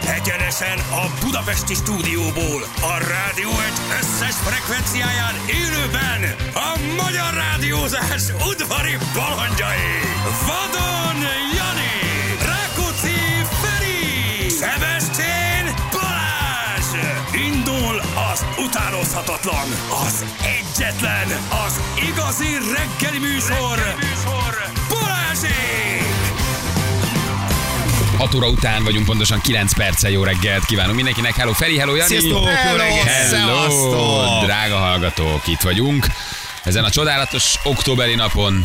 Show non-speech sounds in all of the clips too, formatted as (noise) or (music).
Egyenesen a Budapesti stúdióból, a rádió egy összes frekvenciáján élőben a magyar rádiózás udvari balandjai. Vadon Jani, Rákóczi Feri, Szebestén Balázs. Indul az utánozhatatlan, az egyetlen, az igazi reggeli műsor, reggeli műsor. Balázsék! 6 óra után vagyunk, pontosan 9 perccel jó reggelt kívánunk mindenkinek. Hello Feri, hello Jani. Sziasztok, jó hello, reggelt. hello, Szevasztok. drága hallgatók, itt vagyunk. Ezen a csodálatos októberi napon.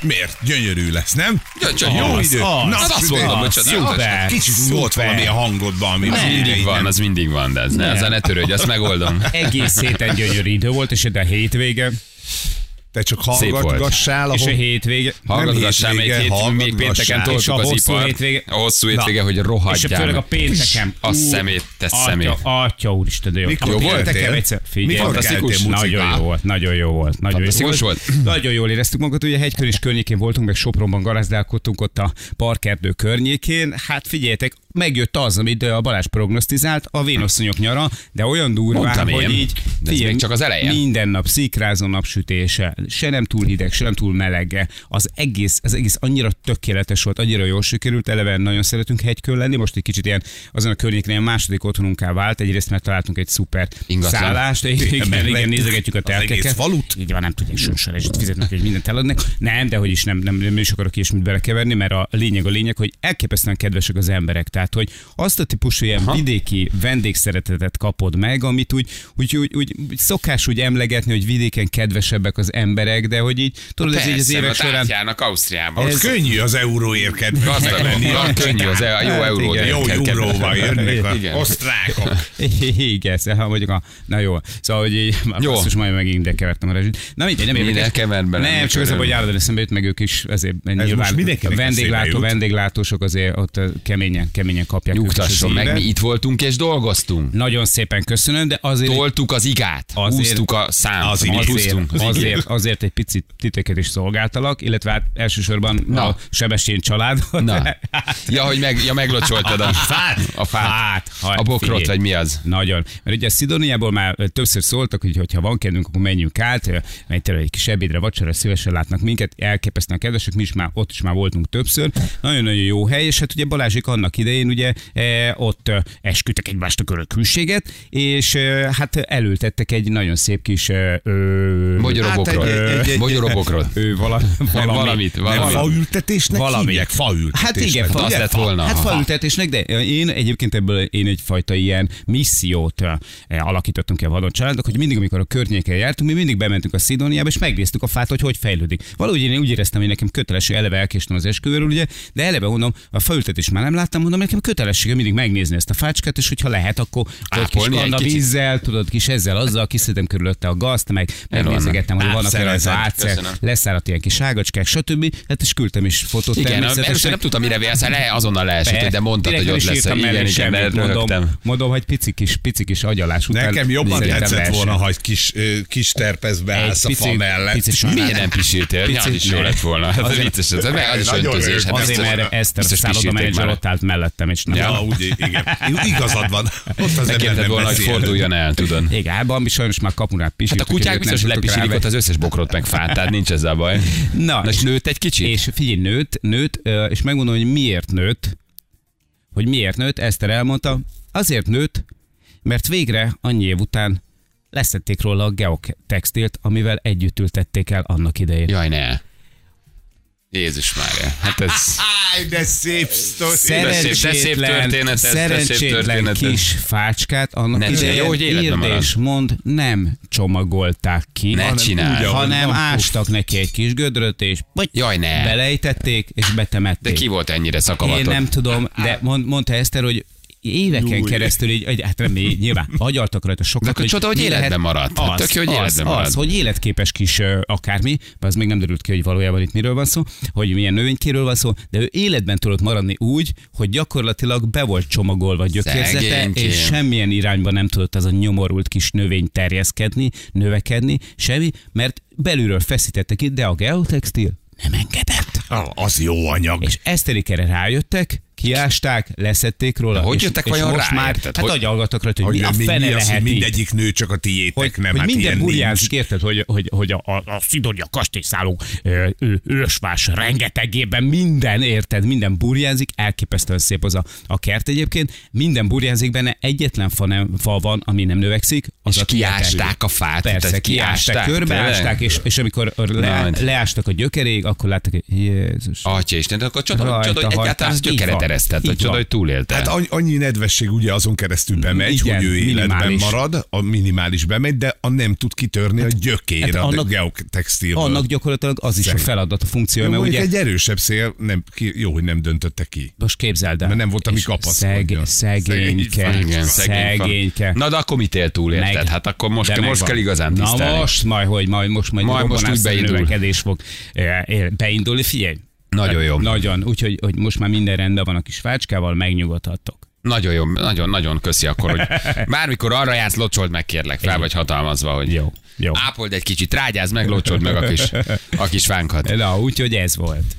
Miért? Gyönyörű lesz, nem? Jó az, idő. Ah, Az, Na, Na, azt sütöm. mondom, hogy Jó, csodálatos. de Kicsit volt valami a hangodban, ami Az mindig van, az mindig van, de ez ne, az ne törődj, azt megoldom. Egész héten gyönyörű idő volt, és itt a hétvége, Te csak Szép volt. hallgatgassál, és a ahol... hétvége, Hallgatgassál még hétvége, hét, még hallgatgassál. pénteken És a toltuk az hosszú ipart. hétvége- A hosszú hétvége, hogy és a rohadjál. főleg a meg. péntekem. A Ú, szemét, te atya- szemét. Atya úristen, de jó. Mikor A Jó volt? péntekem Tél? egyszer- figyelj, Mikor fantasztikus. keltél mucikál? Nagyon jó volt, nagyon jó volt. Nagyon jó Fantasztikus volt? Nagyon jól éreztük magunkat, ugye hegykör és környékén voltunk, meg Sopronban garázdálkodtunk ott a parkerdő környékén. Hát figyeljetek, megjött az, amit a Balázs prognosztizált, a vénasszonyok nyara, de olyan durván, Mondtam én, hogy így... de ez még csak az eleje. Minden nap szikrázó napsütése, se nem túl hideg, se nem túl melege. Az egész, az egész annyira tökéletes volt, annyira jól sikerült, eleve nagyon szeretünk hegykön lenni, most egy kicsit ilyen azon a környéken ilyen második otthonunká vált, egyrészt mert találtunk egy szuper Ingatlan. szállást, igen, igen, igen, megvettük nézegetjük a az egész telkeket. falut. Így van, nem tudják sősorásot fizetnek, hogy mindent eladnak. Nem, de hogy is nem, nem, nem is akarok ilyesmit belekeverni, mert a lényeg a lényeg, hogy elképesztően kedvesek az emberek. Tehát, hogy azt a típusú ilyen vidéki vendégszeretetet kapod meg, amit úgy, úgy, úgy, úgy, úgy szokás úgy emlegetni, hogy vidéken kedvesebbek az emberek, de hogy így, tudod, ez így az Persze, évek mert során átjárnak Ausztriában. Ahhoz könnyű az euróért kedvesnek Gazdag, lenni. van, könnyű az, a jó Hát euró. igen. Jó euróval jönnek Igen. az osztrákok. (laughs) Igen, szóval ha mondjuk a... Na jó, szóval hogy így... Jó. Jó. Basszus, majd megint ide kevertem a rezsit. Na mindegy, nem Ide érdekes. kever bele, Nem, mikor csak az, örül. hogy állandóan eszembe jut, meg ők is azért most nyilván a mindenkinek eszébe vendéglátó, jut. vendéglátósok azért ott ö, keményen, keményen kapják ők is az Nyugtasson meg, évet. mi itt voltunk és dolgoztunk. Nagyon szépen köszönöm, de azért... Toltuk az igát, Azért- húztuk a számt, Az igét. amit Azért, húztunk. azért, azért egy picit titeket is szolgáltalak, illetve hát elsősorban Na. Na. a Sebestyén Hát, családot. (laughs) Na. Ja, hogy meg, ja, meglocsoltad a, a fát. Hát, ha, A bokrot, figyelj. vagy mi az? Nagyon. Mert ugye a Szidóniából már ö, többször szóltak, hogy hogyha van kedvünk, akkor menjünk át, ö, menj tele egy kis ebédre, vacsora, szívesen látnak minket, elképesztően kedvesek, mi is már ott is már voltunk többször. Nagyon-nagyon jó hely, és hát ugye Balázsik annak idején ugye eh, ott ö, esküdtek egymást a körökhűséget, és eh, hát elültettek egy nagyon szép kis eh, ö, hát Bogyorobokrot. egy- egy- egy- Bogyorobokrot. ö, vala, valami, Valamit, Nem valamit. faültetésnek Valami. hívják? Faültetésnek. Hát igen, fa- Az ugye? lett volna. Hát ha- falültetésnek, de én egyébként ebből én egyfajta ilyen missziót eh, alakítottunk ki a vadon családok, hogy mindig, amikor a környéken jártunk, mi mindig bementünk a Szidóniába, és megnéztük a fát, hogy hogy fejlődik. Valahogy én úgy éreztem, hogy nekem kötelesség, eleve elkéstem az esküvőről, ugye, de eleve mondom, a faültetést már nem láttam, mondom, nekem kötelessége mindig megnézni ezt a fácskát, és hogyha lehet, akkor tudod, kis Ápolni egy kanda kicsit. vízzel, tudod, kis ezzel, azzal, kiszedem körülötte a gazt, meg megnézegettem, hogy vannak-e rajta Átszerezed. átszer, Köszönöm. leszáradt ilyen kis ágacskák, stb. Hát és küldtem is fotót Igen, először természetesen. nem tudtam, mire vélsz, le, azonnal leesett, de mondtad, Direkt hogy Eh, nem ott is lesz. írtam Igen, mellé igen, semmit, mert mondom, rögtem. mondom, hogy pici kis, pici kis agyalás után. Nekem jobban írtam tetszett le volna, sem. ha egy kis, ö, kis terpezbe Egy állsz a fa pici- mellett. pici sajnál- Miért nem pisiltél? Picit Nyilván is jó ne. lett volna. Hát Ez vicces, ez meg az is Nagyon öntözés. örülök. Hát Azért, ezt- mert Eszter a biztos szálloda pisilték menedzser már. ott állt mellettem, és nem. Ja, úgy, igen. Igazad van. Ott az ember Megkérted nem volna, hogy beszél. forduljon el, tudod. Igen, hát ami sajnos már kapunál Hát pisít. a kutyák biztos, hogy lepisílik ott az összes bokrot meg fát, tehát nincs ezzel baj. Na, Na, és és- nőtt egy kicsit? És figyelj, nőtt, nőtt, ö, és megmondom, hogy miért nőtt, hogy miért nőtt, Eszter elmondta, azért nőtt, mert végre annyi év után leszették róla a geotextilt, amivel együtt ültették el annak idején. Jaj, ne. Jézus már. Hát ez... Ah, Áj, de szép sztori. De szép- de szép történet Szerencsétlen, ez, de szép szerencsétlen történet ez. kis fácskát annak Nem, idején jó, hogy életben marad. írdés mond, nem csomagolták ki, Ne hanem, csináld. úgy, ahogy hanem van. ástak neki egy kis gödröt, és vagy Jaj, ne. belejtették, és De betemették. ki volt ennyire ah. Én szakavatott? nem tudom, de mond, mondta Eszter, hogy éveken Júj. keresztül így, egy- hát nem, így, nyilván agyaltak rajta sokat. De akkor csoda, hogy mi életben maradt. Hát tök jó, hogy az, életben maradt. Az, hogy életképes kis ö, akármi, az még nem derült ki, hogy valójában itt miről van szó, hogy milyen növénykéről van szó, de ő életben tudott maradni úgy, hogy gyakorlatilag be volt csomagolva gyökérzete, Szegénykém. és semmilyen irányba nem tudott az a nyomorult kis növény terjeszkedni, növekedni, semmi, mert belülről feszítette ki, de a geotextil nem engedett. Ah, Az jó anyag. És Eszterikere rájöttek, ki kiásták, leszették róla. De hogy és- jöttek és vajon most rá? Már, Érted, hát hogy, hogy- agyalgatok rajta, hogy, Hogy mi a nem, mi, fene mi az, lehet hogy így? mindegyik nő csak a tiétek, hogy, nem? hogy hát minden ilyen burjázik, nincs. érted, hogy, hogy, hogy a, a, a Szidonia kastélyszálló ö, ö, ősvás rengetegében minden, érted, minden burjázik, elképesztően szép az a, a kert egyébként, minden burjázik benne, egyetlen fa, nem, fa van, ami nem növekszik, az És a tiétek. kiásták a fát, Persze, tehát kiásták, kiásták, körbeásták, tényleg? hát. és, és amikor le, Nagy. leástak a gyökeréig, akkor láttak, hogy Jézus. Atya Isten, de akkor csoda, Rajta csoda hogy hajtás. egyáltalán ez Így van. gyökeret eresztett, vagy Így csoda, van. hogy túlélte. Hát annyi, annyi nedvesség ugye azon keresztül bemegy, Igen, hogy ő életben minimális. marad, a minimális bemegy, de a nem tud kitörni a hát gyökére a annak- geotextilből. Annak gyakorlatilag az is a Szerintem. feladat, a funkció, mert jó, ugye... ugye egy erősebb szél, nem, ki, jó, hogy nem döntötte ki. most képzeld el. Mert nem volt, ami És kapaszkodjon. szeg- Szegény Szegényke, szegényke. Na de akkor mit él túl, érted? Hát akkor most, de kell, most megvan. kell igazán tisztelni. Na most, majd, hogy majd, most majd, Majd most robbanásszerű úgy beindul. növekedés fog eh, eh, beindulni, figyelj. Nagyon jó. Nagyon, úgyhogy hogy most már minden rendben van a kis fácskával, megnyugodhattok. Nagyon jó, nagyon, nagyon köszi akkor, (laughs) hogy bármikor arra jársz, locsold meg kérlek fel, vagy hatalmazva, hogy Jó, jó. ápold egy kicsit, rágyáz meg, locsold meg a kis, a kis fánkat. Na, úgyhogy ez volt.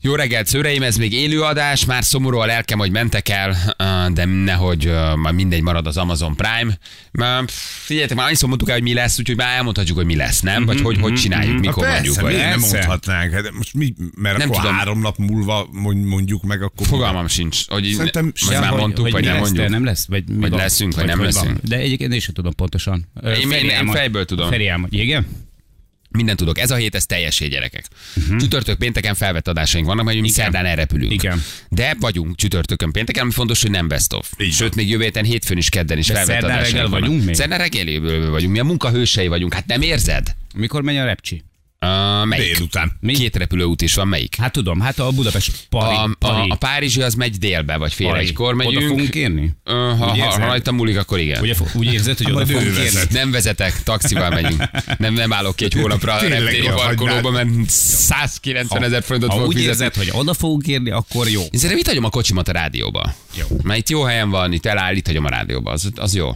Jó reggelt, szőreim, ez még élőadás, már szomorú a lelkem, hogy mentek el, ö, de nehogy ö, már mindegy marad az Amazon Prime. Már, pff, Figyeljetek, már annyiszor mondtuk el, hogy mi lesz, úgyhogy már elmondhatjuk, hogy mi lesz, nem? Vagy hogy, hogy csináljuk, Mhm, Na mikor mondjuk. persze, Vagy. miért nem Persze. mondhatnánk? Hát most mi, mert Nem nem akkor tudom. tudom. három nap múlva mond- mondjuk meg, akkor... Fogalmam sincs, hogy így- Szerintem most sem, már hogy- mondtuk, vagy mi nem lesz, mondjuk. De nem lesz? Vagy, mi Vagy van? leszünk, vagy nem hogy van? leszünk. De egyébként én sem tudom pontosan. Ö, Én- én- Feri én elmond- fejből tudom. Feri elmond. Igen? Mindent tudok. Ez a hét, ez teljessé, gyerekek. Uh-huh. Csütörtök, pénteken felvett adásaink vannak, mert mi szerdán elrepülünk. Igen. De vagyunk csütörtökön, pénteken, ami fontos, hogy nem best of. Így van. Sőt, még jövő héten, hétfőn is, kedden is De felvett szerdán adásaink reggel vannak. vagyunk még? Szerdán reggeléből vagyunk. Mi a munkahősei vagyunk. Hát nem érzed? Mikor megy a repcsi? Uh, melyik? Délután. Mi? Két repülőút is van, melyik? Hát tudom, hát a Budapest pari, A, a, pari, a Párizsi az megy délbe, vagy fél pari. egykor Oda megyünk. fogunk érni? Ö, ha, Úgy ha, érzed? ha rajta múlik, akkor igen. Ugye, fo- úgy érzed, Hát hogy oda majd ő fogunk vezet. érni? Nem vezetek, taxival megyünk. Nem, nem állok ki egy hónapra a Tényleg reptéri jó, parkolóba, mert 190 ezer forintot ha fogok úgy fizetni. érzed, hogy oda fogunk érni, akkor jó. Én szerintem itt hagyom a kocsimat a rádióba. Jó. Mert itt jó helyen van, itt eláll, itt hagyom a rádióba, az, az jó.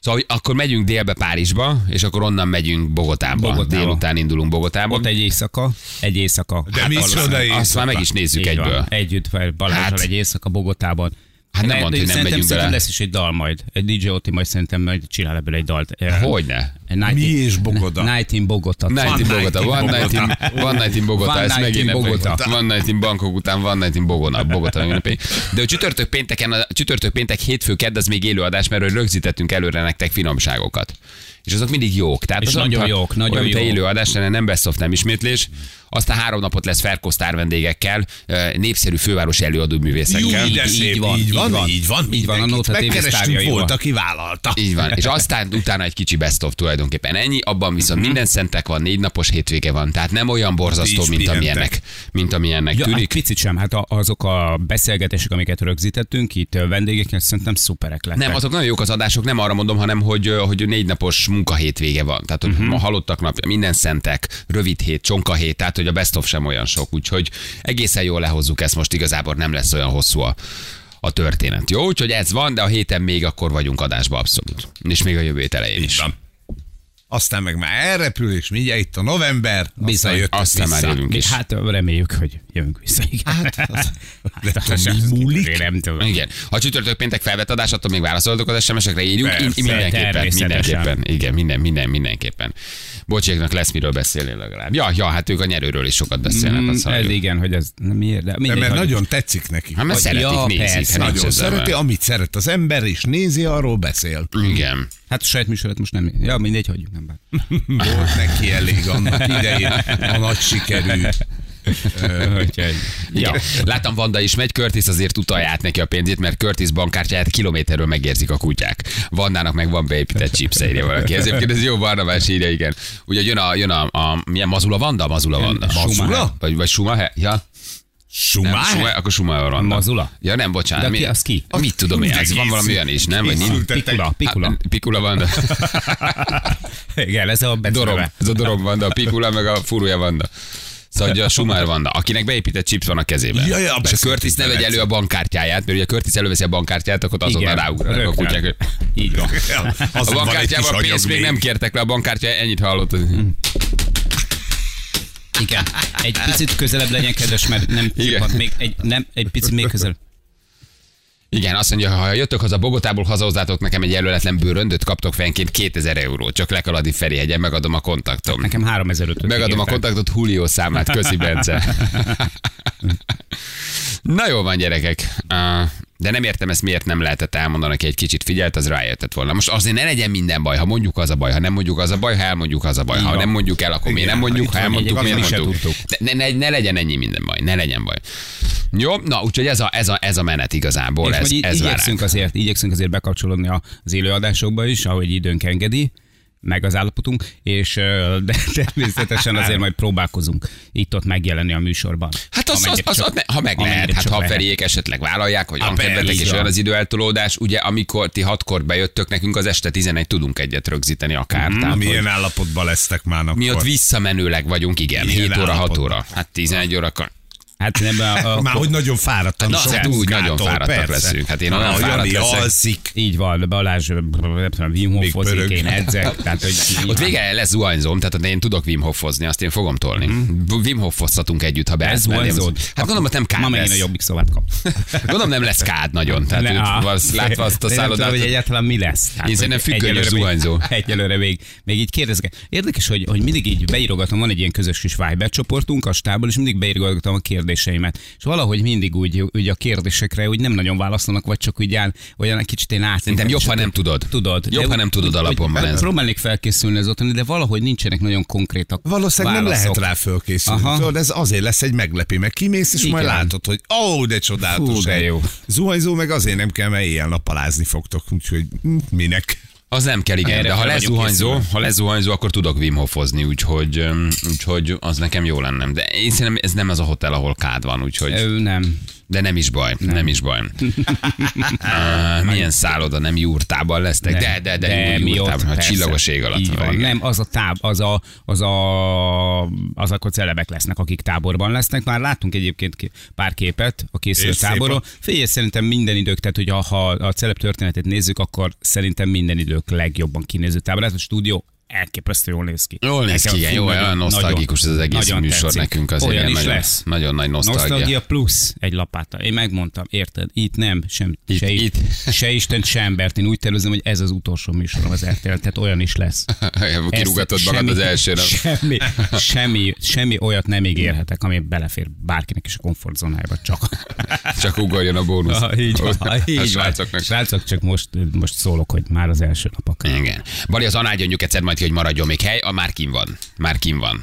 Szóval hogy akkor megyünk délbe Párizsba, és akkor onnan megyünk Bogotába. Bogotába. Bogotába. Délután indulunk Bogotába. Ott egy éjszaka, egy éjszaka. De mi azt, csoda azt éjszaka. már meg is nézzük Így egyből. Van. Együtt fel Balázsral Hát- egy éjszaka Bogotában. Hát nem mondd, hogy nem szerintem, megyünk szerintem bele. lesz is egy dal majd. Egy DJ Oti majd szerintem majd csinál ebből egy dalt. Eh, Hogyne? egy Night Mi in- és Bogota? Night in Bogota. Night in Bogota, One Night in, one night in Bogota, One ez night in megint Bogota. Bogota. One Night in Bangkok után, One Night in Bogona, Bogota megint napig. De a csütörtök pénteken, a csütörtök péntek hétfő kedd, az még élőadás, mert rögzítettünk előre nektek finomságokat. És azok mindig jók. Tehát És az olyan, nagyon mintha- jók, nagyon olyan, mintha jók. élőadás lenne, nem best of, nem ismétlés. Aztán három napot lesz Ferkosztár vendégekkel, népszerű főváros előadó művészekkel. Jó, de így szép, van, így van, így van, így van, Így van, a mindenkit. Nóta TV Megkerestünk, sztárjai volt, van. aki vállalta. Így van. És aztán utána egy kicsi best of tulajdonképpen ennyi, abban Mhm. viszont minden szentek van, négy napos hétvége van, tehát nem olyan borzasztó, Ti is mint pihentek. amilyennek, mint amilyennek Ja, hát tűnik. picit sem, hát a- azok a beszélgetések, amiket rögzítettünk itt ö, vendégekkel, szerintem szuperek lettek. Nem, azok nagyon jók az adások, nem arra mondom, hanem hogy, ö, hogy négy napos munkahétvége van. Tehát, Mhm. hogy uh-huh. ma halottak napja, minden szentek, rövid hét, csonka hét, tehát, hogy a best of sem olyan sok. Úgyhogy egészen jól lehozzuk ezt most, igazából nem lesz olyan hosszú a, a történet. Jó, úgyhogy ez van, de a héten még akkor vagyunk adásba abszolút. És még a jövő hét elején is. Így van. Aztán meg már elrepül, és mindjárt itt a november, Bizony, aztán jött Szóval aztán már vissza. jövünk Még is. hát ö, reméljük, hogy jövünk vissza. Igen. (laughs) Hát, az, de mi múlik? Nem tudom. Igen. Ha csütörtök péntek felvett adás, attól még válaszoltok az SMS-ekre, írjuk. Persze, I- I- mindenképpen, természetesen. mindenképpen. Igen, minden, minden, mindenképpen. Bocsiaknak lesz miről beszélni legalább. Ja, ja, hát ők a nyerőről is sokat beszélnek. Azt Mm, ez halljuk. igen, hogy ez nem miért, de De mindegy, mert hagyjuk. nagyon tetszik neki. Hát mert Hogy szeretik, ja, nézik. persze. hát nincs Nagyon ezzel szereti, baj. amit szeret az ember, és nézi, arról beszél. Igen. Hát a saját műsorat most nem... Ja, mindegy, hagyjuk, nem bár. Volt neki elég annak idején a nagy sikerű. (laughs) Úgyhogy, Ja. Láttam, Vanda is megy, Curtis azért utalja át neki a pénzét, mert Curtis bankkártyáját kilométerről megérzik a kutyák. Vandának meg van beépített chips, írja valaki. Ez egyébként ez jó Barnabás írja, igen. Ugye jön a, jön a, a milyen mazula Vanda? Mazula Vanda. Mazula? Vagy, vagy Schumacher? Ja, Nem, Sumár? Schumacher, akkor Schumacher van. Mazula? Ja nem, bocsánat. De mi, ki- az ki? Mit tudom én, ez van valami olyan is, nem? Vagy nincs? Pikula, pikula. Hát, pikula van, de (laughs) Igen, ez a dorom. bedorove. Ez a dorom van, de a pikula meg a furúja van. de. Szóval ugye a Schumacher van, de akinek beépített chips van a kezében. Ja, ja, és a beszéltünk Curtis ne vele vegye elő egyszer. a bankkártyáját, mert ugye a Curtis előveszi a bankkártyát, akkor azonnal Igen, ráugranak a rögtön. kutyák. hogy- Így van. A bankkártyával a pénzt még nem kértek le, a bankkártya ennyit hallott. Igen. Egy picit közelebb legyen, kedves, mert nem Igen. csapat, még egy, nem, egy picit még közelebb. Igen, azt mondja, ha jöttök haza Bogotából, hazahozzátok nekem egy előletlen bőröndöt, kaptok fenként 2000 eurót, csak lekaladi Ferihegyen, megadom a kontaktom. Nekem 3500 Megadom a kontaktot Julio számát, köszi Bence. Na jó van, gyerekek. Uh, De nem értem ezt, miért nem lehetett elmondani, aki egy kicsit figyelt, az rájöttett volna. Most azért ne legyen minden baj, ha mondjuk az a baj, ha nem mondjuk az a baj, ha elmondjuk az a baj, ha van. nem mondjuk el, akkor miért nem mondjuk, ha van, elmondjuk, miért egyébként nem mi se mondjuk. Ne, ne, ne, legyen ennyi minden baj, ne legyen baj. Jó, na úgyhogy ez a, ez a, ez a menet igazából, És ez, hogy ez vár igyekszünk ránk. azért, igyekszünk azért bekapcsolódni a- az élőadásokba is, ahogy időnk engedi meg az állapotunk, és ö, de (laughs) természetesen azért majd próbálkozunk itt-ott megjelenni a műsorban. Hát az, az, Amennyire az, csak- az ne, ha meg amennyire lehet, hát csak ha a lehet. feriék esetleg vállalják, hogy van persze, kedvetek így és olyan van. az időeltolódás, ugye amikor ti hatkor bejöttök, nekünk az este 11 tudunk egyet rögzíteni akár. Mhm, Mm, tehát, hogy Milyen állapotban lesztek már akkor? mi ott visszamenőleg vagyunk, igen, Milyen 7 óra, 6 állapotban? óra. Hát 11 órakor. Hát nem, a, a, (laughs) Már hogy nagyon fáradtam. Na, sok hát úgy munkától, nagyon fáradtak persze. leszünk. Hát én olyan Na, hogy fáradt Jani leszek. alszik. így van, Balázs, nem tudom, Wim Még Hofozik, pörög. én edzek, tehát hogy Ott végre lesz zuhanyzom, tehát én tudok Wim Hofozni, azt én fogom tolni. Mm. Wim Hofozhatunk együtt, ha be Mhm. ez mellém- vonzod. Hát gondolom, hogy nem Ma kád megint a lesz. jobbik szobát kap. (laughs) Gondolom nem lesz kád nagyon. Tehát Ne, ne, á. valsz, látva azt a Én (laughs) nem tudom, szállodát. hogy egyáltalán mi lesz. Hát, Én hogy szerintem függönyös egyelőre még- zuhanyzó. (laughs) Egyelőre még, még így kérdezek. Érdekes, hogy, hogy mindig így beírogatom, van egy ilyen közös kis Viber csoportunk a stából, és mindig beírogatom a kérdéseimet. És valahogy mindig úgy, úgy a kérdésekre úgy nem nagyon válaszolnak, vagy csak úgy áll, olyan egy kicsit én át. Szerintem jobb, ha nem tudod. Tudod. Jobb, De ha nem tudod úgy- alapon van úgy- ez. Próbálnék felkészülni az otthoni, de valahogy nincsenek nagyon konkrétak Valószínűleg nem válaszok. lehet rá fölkészülni. Aha. Tudod, ez azért lesz egy meglepi, mert kimész, és Igen. majd látod, hogy ó, oh, de csodálatos. Fú, de hely. jó. Zuhanyzó meg azért nem kell, mert ilyen napalázni fogtok, úgyhogy hm, minek. Az nem kell, igen, Erre de ha fel vagyok lezuhanyzó, készülve. ha lezuhanyzó, akkor tudok Wim Hofozni, úgyhogy, öm, úgyhogy az nekem jó lenne. De én szerintem ez nem az a hotel, ahol kád van, úgyhogy, Ö, nem. de nem is baj, nem, nem is (laughs) baj. Á, milyen szálloda, nem jurtában lesztek, de, de, de, de mi ott, jurtában, ha persze. csillagos ég alatt Így van. igen. Nem, az a táb, az a, az a, az akkor celebek lesznek, akik táborban lesznek. Már láttunk egyébként ki- pár képet a készülő És szép táborról. a- Figyelj, szerintem minden idők, tehát hogy ha- ha a celeb történetét nézzük, akkor szerintem minden idők legjobban kinéző tábor. Ez a stúdió elképesztő jól néz ki. Jól néz Nekem ki, igen, fú, jó, nagyon- olyan nosztalgikus ez az egész nagyon műsor tetszik. nekünk azért. Olyan ilyen is nagyon, lesz. Nagyon nagy nosztalgia. Nosztalgia plusz egy lapáttal. Én megmondtam, érted? Itt nem, sem, Itt- se, itt. itt. se Isten, se embert. Én úgy tervezem, hogy ez az utolsó műsorom az RTL, tehát olyan is (laughs) lesz. Kirúgatod Ezt magad az első nap. (laughs) Semmi, semmi, semmi olyat nem ígérhetek, ami belefér bárkinek is a komfortzónájába, (laughs) csak. Csak ugorjon a bónusz. (laughs) Ah, így van, A így van. srácoknak. Srácok, csak most, most szólok, hogy már az első napok. Igen. Bali az anágyöngyük egyszer majd ki, hogy maradjon még hely, a már kim van. Már kim van.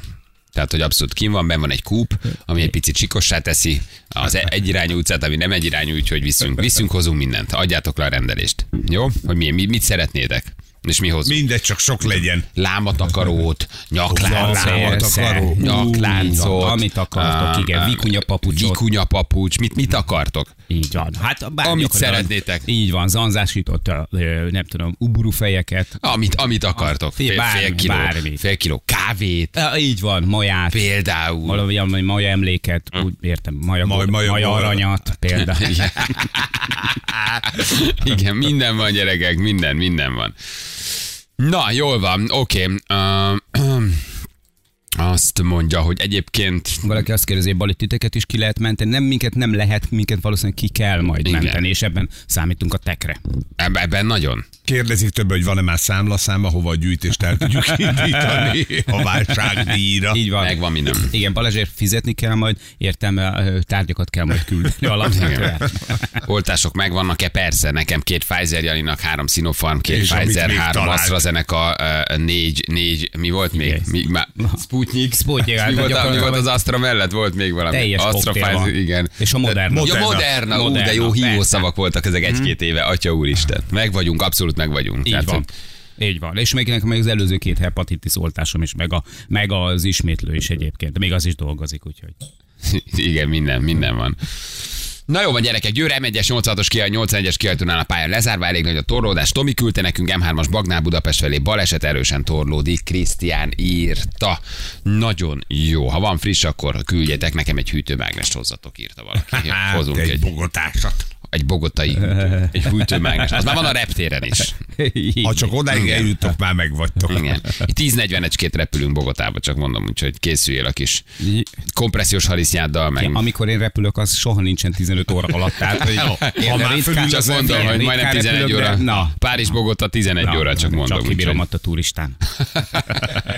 Tehát, hogy abszolút kim van, benn van egy kúp, ami egy picit sikossá teszi az e- egyirányú utcát, ami nem egyirányú, úgyhogy viszünk, viszünk, hozunk mindent. Adjátok le a rendelést. Jó? Hogy mi, mi mit szeretnétek? És mi hozunk? Mindegy, csak sok legyen. Lámatakarót, Láncot, nyakláncot, akaró. nyakláncot. Amit akartok, ám, igen, ám, vikunya papucsot. Vikunya papucs, mit, mit akartok? Így van. Hát bármi Amit akar- szeretnétek. Így van, zanzásított, ö, ö, nem tudom, uburu fejeket. Amit, amit akartok. Figyelj, Fél, fél, bármi, kiló, bármi. fél kiló kávét, Ö, Így van, maját. például. Valami ilyen maja emléket, Hm. úgy értem, maja, Maj- maja- maja, maja, aranyat például. Igen. Igen, minden van, gyerekek, minden, minden van. Na, jól van, oké. Okay. azt mondja, hogy egyébként Valaki azt kérdezi, hogy Bali titeket is ki lehet menteni. Nem minket nem lehet, minket valószínűleg ki kell majd Igen. Igen. menteni, és ebben számítunk a tekre. eb- ebben nagyon. Kérdezik több, hogy van-e már számlaszáma, hova a gyűjtést el tudjuk (laughs) indítani a váltságdíjra. Így van. Megvan minden. Igen, Balázsért fizetni kell majd, értem, ö, tárgyakat kell majd küldeni alapvetően. Oltások megvannak-e? Persze, nekem két Pfizer Janinak, három Sinopharm, két És amit Pfizer, még három talált. AstraZeneca, ö, négy, négy, mi volt még? Igen. Mi, már, Sputnik. Sputnik, hát mi, volt, a- mi gyakorlatilag volt az Astra mellett? Volt még valami. Teljes Astra, koktél van. Pfizer, igen. És a Moderna. Ja, Moderna. Moderna, Moderna. Ú, Moderna, de jó persze. Mhm. hívószavak voltak ezek egy-két éve, atya úristen. Meg vagyunk, abszolút meg vagyunk. Így Tehát, van. hogy Így van. És még nekem még az előző két hepatitis oltásom is, meg, a, meg az ismétlő is egyébként. De még az is dolgozik, úgyhogy. (laughs) Igen, minden, minden van. Na jó van gyerekek, Győr M1-es 86-os kiáll, 81-es kiállítónál a pályán lezárva, elég nagy a torlódás. Tomi küldte nekünk M3-as Bagnál Budapest felé, baleset erősen torlódik, Krisztián írta. Nagyon jó, ha van friss, akkor küldjetek nekem egy hűtőmágnest hozzatok, írta valaki. Hát, Hozunk egy egy. bogotásat. egy bogotai, egy hűtőmágnes. Az már van a reptéren is. Ha csak odáig Igen. eljuttok, már megvagytok. Igen. 10.41-két repülünk Bogotába, csak mondom, úgyhogy készüljél a kis kompressziós harisznyáddal meg. Amikor én repülök, az soha nincsen 15 óra alatt. Tehát, (laughs) hogy én már ritkán- fölül Csak az mondom, ritkán hogy majdnem 11 repülök, de- óra. Na, Párizs-Bogota 11 na, óra, csak mondom. Csak kibírom úgyhogy ott a turistán. (laughs)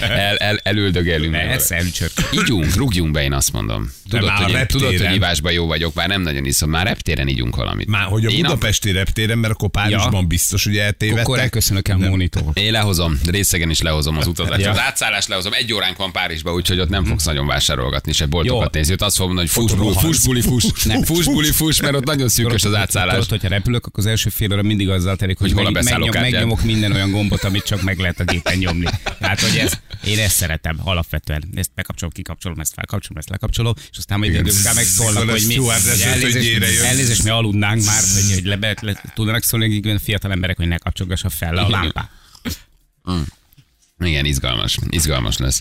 el, el, elüldögélünk. Persze, elücsök. Ígyunk, rúgjunk be, én azt mondom. Tudod, már a hogy, én, tudod, hogy reptéren. ivásban jó vagyok, már nem nagyon iszom, már reptéren ígyunk valamit. Már hogy a én, a, budapesti reptéren, mert akkor Párizsban Ja. biztos, hogy Akkor eltévedtek. elköszönök el monitor. én lehozom, részegen is lehozom az utazást. Ja. Az átszállást lehozom, egy óránk van Párizsba, úgyhogy ott nem fogsz nagyon vásárolgatni, se boltokat Jó. nézni. Ott azt fogom mondani, hogy fuss, buli, rohansz. fuss, buli, fuss. Nem, fuss, buli, fuss, mert ott nagyon szűkös az átszállás. Tudod, hogyha repülök, akkor az első fél óra mindig azzal telik, hogy, Hogy hol a meg- megnyom, beszállókártyád? megnyomok minden olyan gombot, amit csak meg lehet a gépen nyomni. Hát, hogy ez, én ezt szeretem alapvetően. Ezt bekapcsolom, kikapcsolom, ezt felkapcsolom, ezt lekapcsolom, és aztán majd egy idő után megszólnak, Akkor a hogy mi stewardess hogy azt, hogy gyere, elnézést, jössz. elnézést, mi aludnánk már, hogy, hogy le, be- le, tudnának szólni, hogy igen, fiatal emberek, hogy ne kapcsolgassa fel a lámpát. Igen, izgalmas. Izgalmas lesz.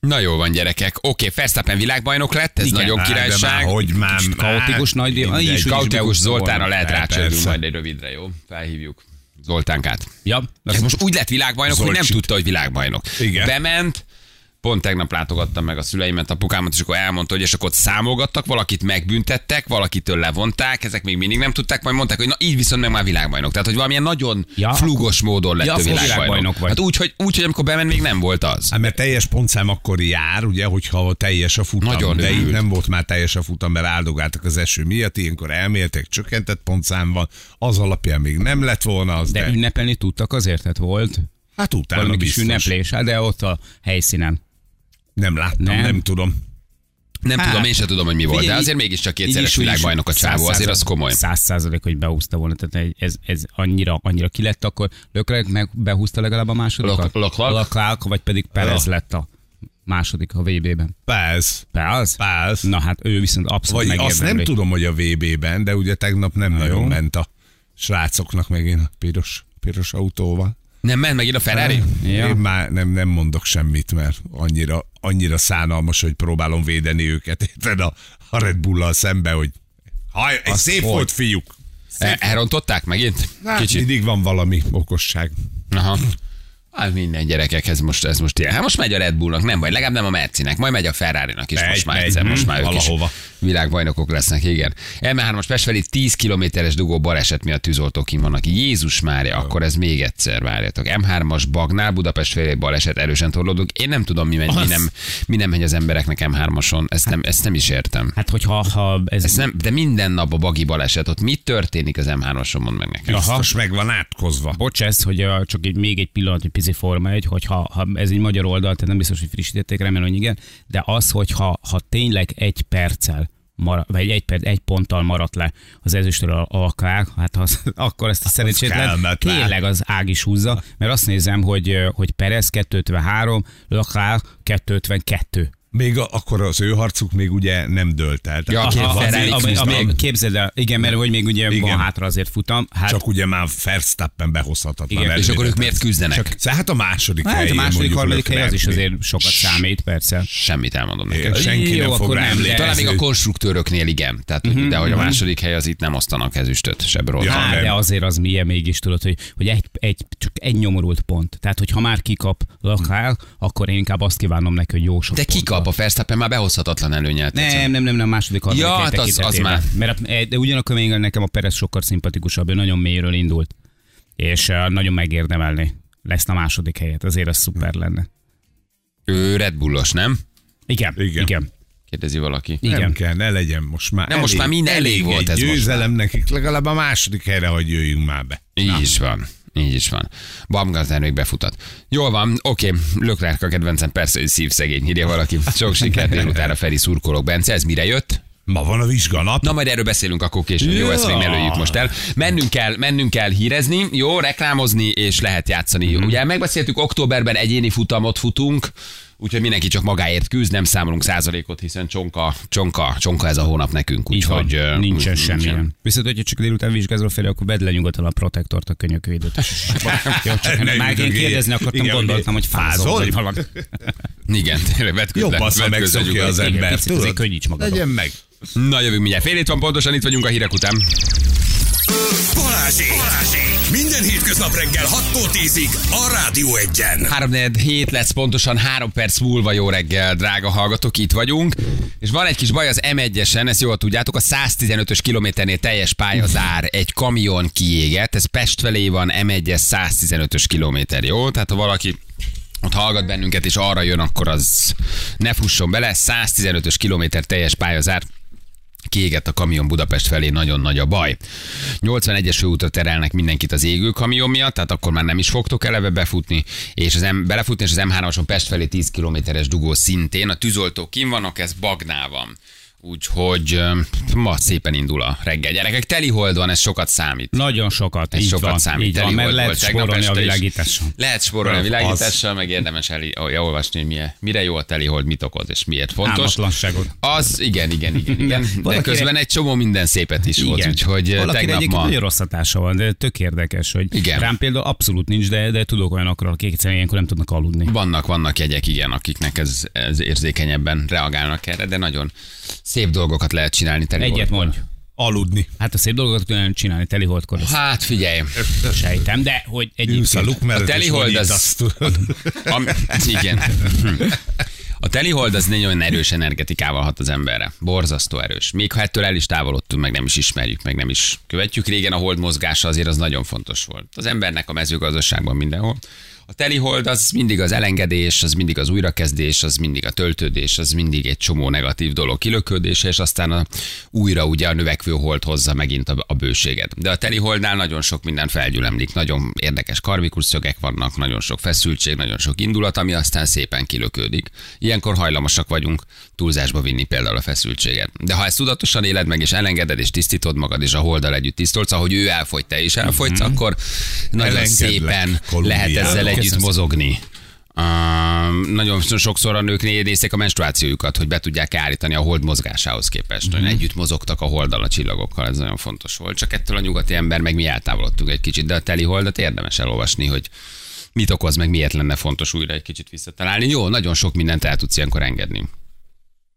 Na jó van, gyerekek. Oké, okay, Verstappen világbajnok lett, ez Igen, nagyon Á, hát, de már királyság. Hogy már, Kicsit már- kaotikus nagy dél- mindegy. Így is, úgy is Kautikus beúszta Zoltánra volna. lehet Hát, rácsörünk persze. majd egy rövidre, jó? Felhívjuk Zoltánkát. Ja, Ez azt- most úgy lett világbajnok, hogy nem Zolcsi. tudta, hogy világbajnok. Igen. Bement, pont tegnap látogattam meg a szüleimet, apukámat, és akkor elmondta, hogy és akkor ott számolgattak, valakit megbüntettek, valakitől levonták, ezek még mindig nem tudták, majd mondták, hogy na így viszont meg már világbajnok. Tehát, hogy valamilyen nagyon ja. Ja. flugos módon lett Ja, ja, ő akkor világbajnok. világbajnok vagy. Hát úgy hogy, úgy, hogy amikor bement, még nem volt az. Hát mert teljes pontszám akkor jár, ugye, hogyha teljes a futam. Nagyon de rövid. így nem volt már teljes a futam, mert áldogáltak az eső miatt, ilyenkor elméltek, csökkentett pontszám van, az alapján még nem lett volna az, de, de ünnepelni tudtak azért, tehát volt hát utána valami kis biztos. ünneplés, hát de ott a helyszínen. Nem láttam, nem, Nem. nem tudom. Nem Hát, tudom, én sem tudom, hogy mi volt, de Figyelj, azért mégiscsak kétszeres világbajnok a csávó, azért az komoly. Száz százalék, hogy beúszta volna, tehát egy- ez, ez annyira, annyira ki lett, akkor Lökrek meg behúzta legalább a másodikat? Lok- Leclerc? Leclerc, vagy pedig Perez lett a második a VB-ben. Persze, Perez? persze. Na hát ő viszont abszolút Vagy azt nem megérdemli. tudom, hogy a VB-ben, de ugye tegnap nem nagyon jó. ment a srácoknak megint a piros, piros autóval. Nem ment megint a Ferrari? Ja. Én már nem, nem mondok semmit, mert annyira, annyira szánalmas, hogy próbálom védeni őket. Érted a, a Red Bull-al szembe, hogy haj, egy szép volt. volt, fiúk. El- E- Elrontották megint? Hát, Kicsit. Mindig van valami okosság. Aha. Hát minden gyerekek, ez most, ez most ilyen. Hát most megy a Red Bullnak, nem baj, legalább nem a Mercinek, majd megy a Ferrari-nak is, Megy, most már megy, egyszer, mhm, most már ők is valahova. világbajnokok lesznek, igen. M3-as Pestveli 10 kilométeres dugó baleset miatt tűzoltókin vannak. Jézus Mária, akkor ez még egyszer várjatok. M3-as Bagnál Budapest felé baleset erősen torlódunk. Én nem tudom, mi, megy, mi, Az. nem, mi nem megy az embereknek M3-ason, ezt nem, ezt nem is értem. Hát hogyha ha ez, Ez nem, de minden nap a bagi baleset, ott mi történik az M3-ason, mondd meg nekem. Biztos meg van átkozva. Bocs, ez, hogy uh, csak egy, még egy pillanat, egy pici forma egy, hogyha ha ez egy magyar oldal, tehát nem biztos, hogy frissítették, remélem, hogy igen, de az, hogyha ha tényleg egy perccel mara, vagy egy, perc, egy ponttal maradt le az ezüstről a, a klák, hát az, (laughs) akkor ezt a szerencsétlen kellemetlen. tényleg az ág is húzza, mert azt nézem, hogy, ö, hogy Perez 253, Leclerc 252. Még a, akkor az ő harcuk még ugye nem dölt el. Ja, Tehát két az Ferrari még- Felelix ami, küzd ami, még. képzeld el, igen, mert hogy még ugye Igen. van hátra azért futam, hát Csak ugye már Verstappen behozhatatlan. Igen, És akkor ők miért küzdenek? Csak, szóval hát a második Hát helyén a második, mondjuk harmadik hely az is Leclerc. azért sokat számít, persze. Semmit elmondom neked. Igen, Senki Jó, nem fog akkor rá nem, de- emlékezni. Talán még a hogy- konstruktőröknél igen. Tehát, hogy, de hogy a második hely az itt nem osztanak ezüstöt, se bronzot. Mhm, Ja. Á, nem. de azért az milyen mégis, tudod, hogy, hogy egy, egy, csak egy nyomorult pont. Tehát, hogy ha már kikap lakál, akkor én inkább azt kívánom neki, hogy jó sok De pont. kikap a Verstappen már behozhatatlan előnyelt. Nem, nem, nem, nem, második harmadik Ja, hely hát az- az tekintetében. már. Mert, a- e- de ugyanakkor még nekem a Perez sokkal szimpatikusabb, ő nagyon mélyről indult, és eh, nagyon megérdemelni lesz a második helyet, azért az szuper lenne. Ő Red Bullos, nem? Igen, igen, Igen. igen. Kérdezi valaki. Nem igen. kell, ne legyen most már. Nem, most már minden elég volt egy ez most győzelem nekik, legalább a második helyre, hogy jöjjünk már be. Így is van. Így is van. Baumgartner még befutat. Jól van, oké, Löklerk a kedvencem, persze, hogy szívszegény, írja valaki. Sok sikert délután a Feri szurkolók. Bence, ez mire jött? Ma van a vizsganap. Na majd erről beszélünk akkor később. Jó, ezt még ne lőjük most el. Mennünk kell, mennünk kell hírezni, Mhm. jó, reklámozni, és lehet játszani. Ugye megbeszéltük, októberben egyéni futamot futunk, Úgyhogy mindenki csak magáért küzd, nem számolunk százalékot, hiszen csonka, csonka, csonka ez a hónap nekünk. Így van, Úgyhogy ö, nincsen úgy- semmi. Viszont, hogyha csak délután vizsgázol fel, akkor vedd le nyugodtan a protektort, a könyököidőt. (laughs) Jó, csak Ne már én üldögél. kérdezni akartam, Igen, gondoltam, hogy fázol, fázol? vagy valami. Igen, tényleg vetközd Jobb le, az, ha vetközd megszokja le, az nyugodtan. Igen, ember. picit azért Tudod? könnyíts magadon. Legyen meg. Na jövünk mindjárt. Fél hét van pontosan, itt vagyunk a hírek után. Balázsék! Balázsék! Minden hétköznap reggel 6-tól 10-ig a Rádió Egyen. 3 hét lesz pontosan, 3 perc múlva jó reggel, drága hallgatók, itt vagyunk. És van egy kis baj az M1-esen, ezt jól tudjátok, a 115-ös kilométernél teljes pálya zár, egy kamion kiégett, ez Pest felé van, M1-es 115-ös kilométer, jó? Tehát ha valaki ott hallgat bennünket, és arra jön, akkor az ne fusson bele. 115-ös kilométer teljes pályazár. Kiégett a kamion Budapest felé, nagyon nagy a baj. 81-es főútra terelnek mindenkit az égő kamion miatt, tehát akkor már nem is fogtok eleve befutni, és az M, belefutni, és az M3-ason Pest felé 10 kilométeres dugó szintén. A tűzoltók kim vannak, ez Bagnál van. Úgyhogy ö, ma szépen indul a reggel. Gyerekek, teli hold van, ez sokat számít. Nagyon sokat, Ez így sokat van, számít. így van, Teli mert hold lehet volt tegnap spórolni a este is. világításon. Lehet spórolni a Az. világítással, meg érdemes el, olvasni, hogy milyen, mire jó a teli hold, mit okoz, és miért fontos. Álmatlanságot. Az, igen, igen, igen, igen. De Valakire- közben egy csomó minden szépet is volt, úgyhogy ö, Valakire tegnap egyébként ma... nagyon rossz hatása van, de tök érdekes, hogy Igen. rám például abszolút nincs, de, de tudok olyanokról, akik egyszerűen ilyenkor nem tudnak aludni. Vannak, vannak jegyek, igen, akiknek ez, ez érzékenyebben reagálnak erre, de nagyon szép dolgokat lehet csinálni. Teli Egyet holdkor. mondj. Aludni. Hát a szép dolgokat tudnám csinálni teli holdkor, ezt Hát figyelj, sejtem, de hogy Ülsz a egyébként... luk mellett, A teli és hold az- unítasz, tudod. Am, igen. A telihold az nagyon erős energetikával hat az emberre. Borzasztó erős. Még ha ettől el is távolodtunk, meg nem is ismerjük, meg nem is követjük. Régen a hold mozgása azért az nagyon fontos volt. Az embernek a mezőgazdaságban mindenhol. A telihold az mindig az elengedés, az mindig az újrakezdés, az mindig a töltődés, az mindig egy csomó negatív dolog kilöködése, és aztán a, újra ugye a növekvő hold hozza megint a, a bőséget. De a teli holdnál nagyon sok minden felgyülemlik, nagyon érdekes karmikus szögek vannak, nagyon sok feszültség, nagyon sok indulat, ami aztán szépen kilöködik. Ilyenkor hajlamosak vagyunk túlzásba vinni például a feszültséget. De ha ezt tudatosan éled meg, és elengeded, és tisztítod magad, és a holddal együtt tisztolsz, ahogy ő elfogy, te is elfogysz, akkor nagyon Mhm. Elengedlek, szépen lehet Kolumbiában. ezzel együtt Köszönöm mozogni. Um, nagyon sokszor a nők nézték a menstruációjukat, hogy be tudják állítani a hold mozgásához képest. Mhm. Mm. Együtt mozogtak a holddal a csillagokkal, ez nagyon fontos volt. Csak ettől a nyugati ember, meg mi eltávolodtunk egy kicsit, de a teli holdat érdemes elolvasni, hogy mit okoz, meg miért lenne fontos újra egy kicsit visszatalálni. Jó, nagyon sok mindent el tudsz ilyenkor engedni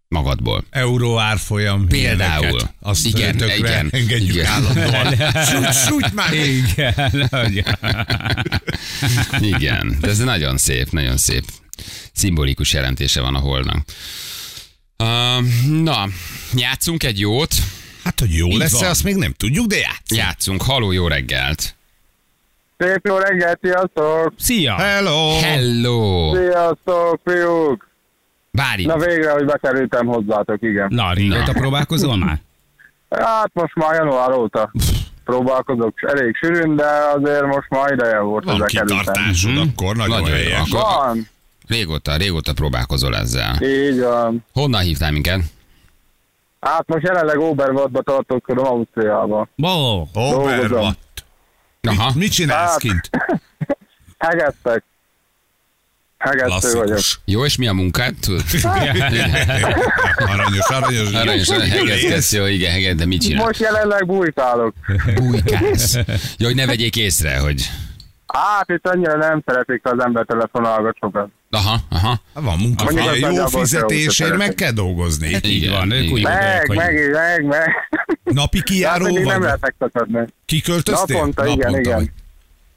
magadból. Euró árfolyam. Például. ilyeneket. Azt Igen, igen, tökre igen, igen, engedjük igen. igen. állandóan. Sújt, sújt (laughs) már! Igen, nagyon. Igen, de ez nagyon szép, nagyon szép. Szimbolikus jelentése van a holnak. Uh, na, játszunk egy jót. Hát, hogy jó lesz-e, van. azt még nem tudjuk, de játsz. Játszunk. Haló, jó reggelt. Szép jó reggelt, sziasztok! Szia! Hello! Hello. Sziasztok, fiúk! Bári. Na végre, hogy bekerültem hozzátok, igen. Na, régóta próbálkozol már? Hát most már január óta próbálkozok, s elég sűrűn, de azért most már ideje volt, hogy Van bekerültem. kitartásod, akkor nagyon Mhm. Nagyon jó. helyes. Akkor Van, régóta, régóta próbálkozol ezzel. így van. Honnan hívtál minket? Hát most jelenleg Oberwattba tartózkodom Ausztriába. Ó, Overwatt. Aha. Mit csinálsz Hát, kint? Hegesztek. Hegesztő vagyok. Klasszikus. Jó, és mi a munkád? Tudod? Aranyos, aranyos. Aranyos, hegezkedsz, jó, igen, heged, de mit csinál? Most jelenleg bújtálok. Bújkálsz. Jó, hogy ne vegyék észre, hogy... Hát itt annyira nem szeretik, ha az ember telefonálgat sokat. Aha, aha. Hát Van munka, Mondjuk az jó nagyjából se fizetésért szeretik. meg kell dolgozni. Hát így van, ők úgy Meg, gondolják, hogy- meg, meg, meg. Napi Hát kijáró mindig nem vagy? lehet megszakadni. Kiköltöztél? Naponta, igen, igen. vagy.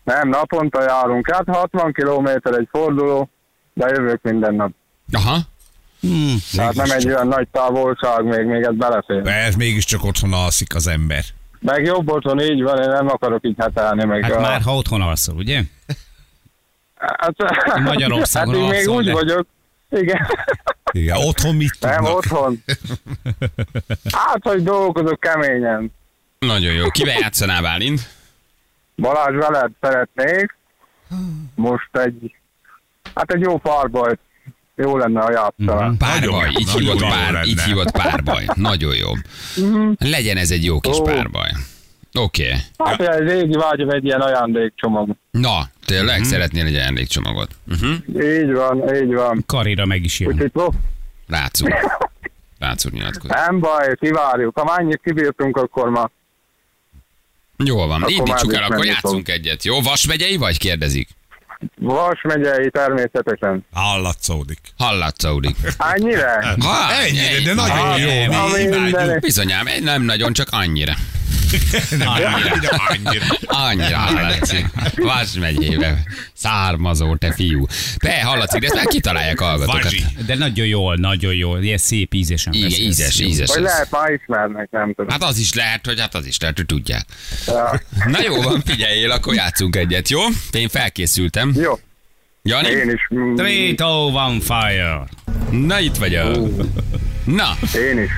Nem, naponta járunk. Hát 60 km egy forduló, de jövök minden nap. Aha. Tehát nem egy olyan nagy távolság, még, még ez belefér. Mert mégiscsak otthon alszik az ember. Meg jobb otthon így van, én nem akarok így hetelni. Meg Hát a- már, ha otthon alszol, ugye? hát, Magyarországon hát így még alszol, úgy de- vagyok. Igen, Igen, otthon mit nem tudnak? otthon. Hát, hogy dolgozok keményen. Nagyon jó. Kivel játszanál, Bálint? Balázs veled szeretnék. Most egy, hát egy jó párbajt. Jó lenne, ha játszanál. Párbaj, Nagyon, így nagyon hívott, jó pár, lenne. így hívott (laughs) párbaj. Nagyon jó. Legyen ez egy jó kis Mhm. Ó. párbaj. Oké. Okay. Hát egy régi vágyom egy ilyen ajándékcsomag. Na, Tényleg Mhm. mm. szeretnél egy emlékcsomagot. Uh-huh. Így van, így van. Karira meg is jön. Úgyhogy prof- Rácú. Rácú nyilatkozik. nem baj, kivárjuk. Ha annyit kibírtunk, akkor ma. Jól van, Akkor indítsuk már el, akkor menni játszunk egyet. Jó, vasmegyei vagy? Kérdezik. Vas megyei természetesen. Hallatszódik. (laughs) Hallatszódik. Annyira? Ha, Ennyire, de nagyon ha, jó. nem, Na Mi imádjuk. mindenek. Bizonyám, egy nem nagyon, csak annyira. Annyira, annyira. Annyira hallatszik. Vas megyébe. Származó, te fiú. Te hallatszik, de ezt már kitalálják a hallgatókat. Vazsi. De nagyon jól, nagyon jól. Ilyen szép ízesen Igen, beszélsz. ízes, Jó. ízes. Vagy ez. lehet, már ismernek, nem tudom. Hát az is lehet, hogy hát az is lehet, hogy tudják. Ja. Na jó van, figyeljél, akkor játszunk egyet, jó? Én felkészültem. Jó, Jani? én is. mm, Three, two, one, fire. Na itt vagyok. Na, Én is.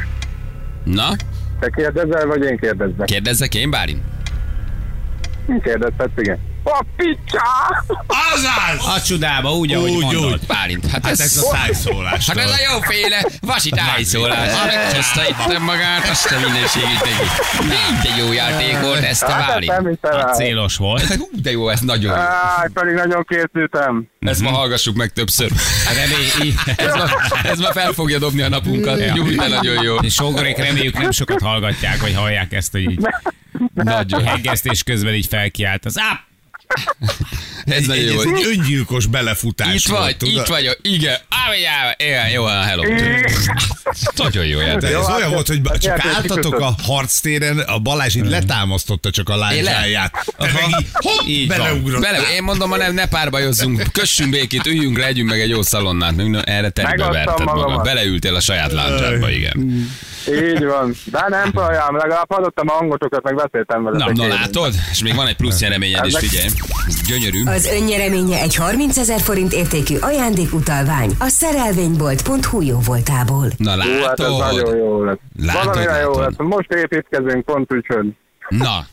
na, Te kérdezel, vagy én kérdezzek? kérdezzek én, Bálin? Én kérdezhetsz, igen. A picsa! Azaz! A csodába, úgy, ahogy Úgy, mondod. úgy. Bálint, hát, Hát ez a szájszólás. Hát ez a jóféle vasi tájszólás. Meghozta itt magát, azt a mindenségét neki. Mind de jó játék volt, ezt a Hát ezt nem Hát- Bálint. hiszem Hát el. célos volt. Hú, De jó, ez nagyon jó. Áj, pedig nagyon készültem. Ezt ma hallgassuk meg többször. Hát Remé- Ez ma, ez ma fel fogja dobni a napunkat. Jó, de nagyon jó. És sógorék reméljük nem sokat hallgatják, vagy hallják ezt, hogy így Nagyon. hegesztés közben így felkiált. Az áp! Ez Egy, nagyon egy, jó. egy öngyilkos belefutás Itt volt, vagy, tudod? itt vagyok, igen. Ámegyába, igen, jó, a hello. Nagyon jó De játék. ez Jó, olyan hát volt, hogy ba- csak játék álltatok a kikötött. harctéren, a Balázs Hm. így letámasztotta csak a lányzsáját. Te meg így, Így Hopp, van. beleugrott. Bele, én mondom, ha nem, ne párbajozzunk, kössünk békét, üljünk le, együnk meg egy jó szalonnát. Na, Erre terbe Megadtam verted magad. magamat. Beleültél a saját láncsádba, igen. Így van. De nem bajám, legalább hallottam a hangotokat, meg beszéltem vele. Na, na látod? És még van egy plusz nyereményed is, Ezek- figyelj. Ez Gyönyörű. Az önnyereménye egy 30 ezer forint értékű ajándékutalvány a szerelvénybolt.hu jó voltából. Na Jó, hát ez nagyon látod? jó lett. Látod, Valamire jó látod. lett. Most építkezünk pont úgyhogy. Na,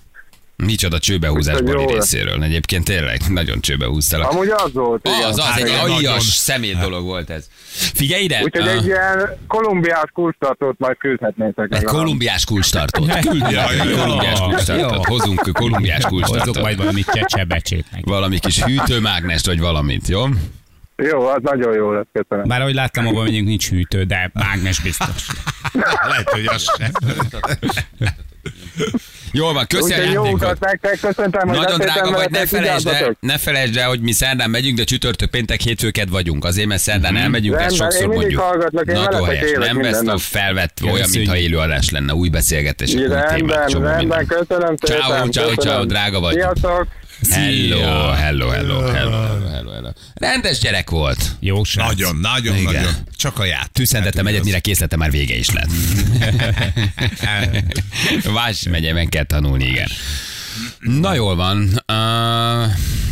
micsoda csőbehúzás Jó Bali lett. részéről. Egyébként tényleg nagyon csőbehúztalak. Amúgy az volt, igen. Hát Az, az, egy Igen. aljas nagyon. szemét dolog volt ez. Figyelj ide! Úgyhogy Ah. egy ilyen kolumbiás kulcstartót majd küldhetnétek. Egy legalább. kolumbiás kulcstartót. (laughs) Jaj, Egy jó. kolumbiás kulcstartót. Hozunk kolumbiás Hozok kulcstartót. majd valami csecsebecsét meg. Valami kis hűtőmágnest, vagy valamit, jó? Jó, az nagyon jó lett, köszönöm. Bár ahogy láttam, abban mondjuk nincs hűtő, de mágnes biztos. Lehet, hogy az sem. Jól van, köszi a Úgyhogy jó utat játékot. nektek, köszöntem, hogy Nagyon beszéltem drága vagy, ne veletek, felejtsd el, vigyázzatok. ne felejtsd el, hogy mi szerdán megyünk, de csütörtök, péntek, hétfőket vagyunk. Azért, mert Mhm. szerdán elmegyünk, ezt Rendben, sokszor én mindig mondjuk. hallgatlak, én Nagyon veletek helyes, élek nem minden vesztő nap. felvett, olyan, Köszönjük. mintha élőadás lenne, új beszélgetések, új témák, Rendben, csomó rendben, minden. köszönöm szépen. Ciao, ciao, ciao, köszönöm. drága vagy. Sziasztok. Hello, hello, hello, hello, hello, hello, hello. Rendes gyerek volt. Jó srác. Nagyon, nagyon, Igen. nagyon. Csak a ját. Tűzszentettem egyet, mire készletem, már vége is (laughs) lett. Vás megye, meg kell tanulni, igen. Na jól van. Uh,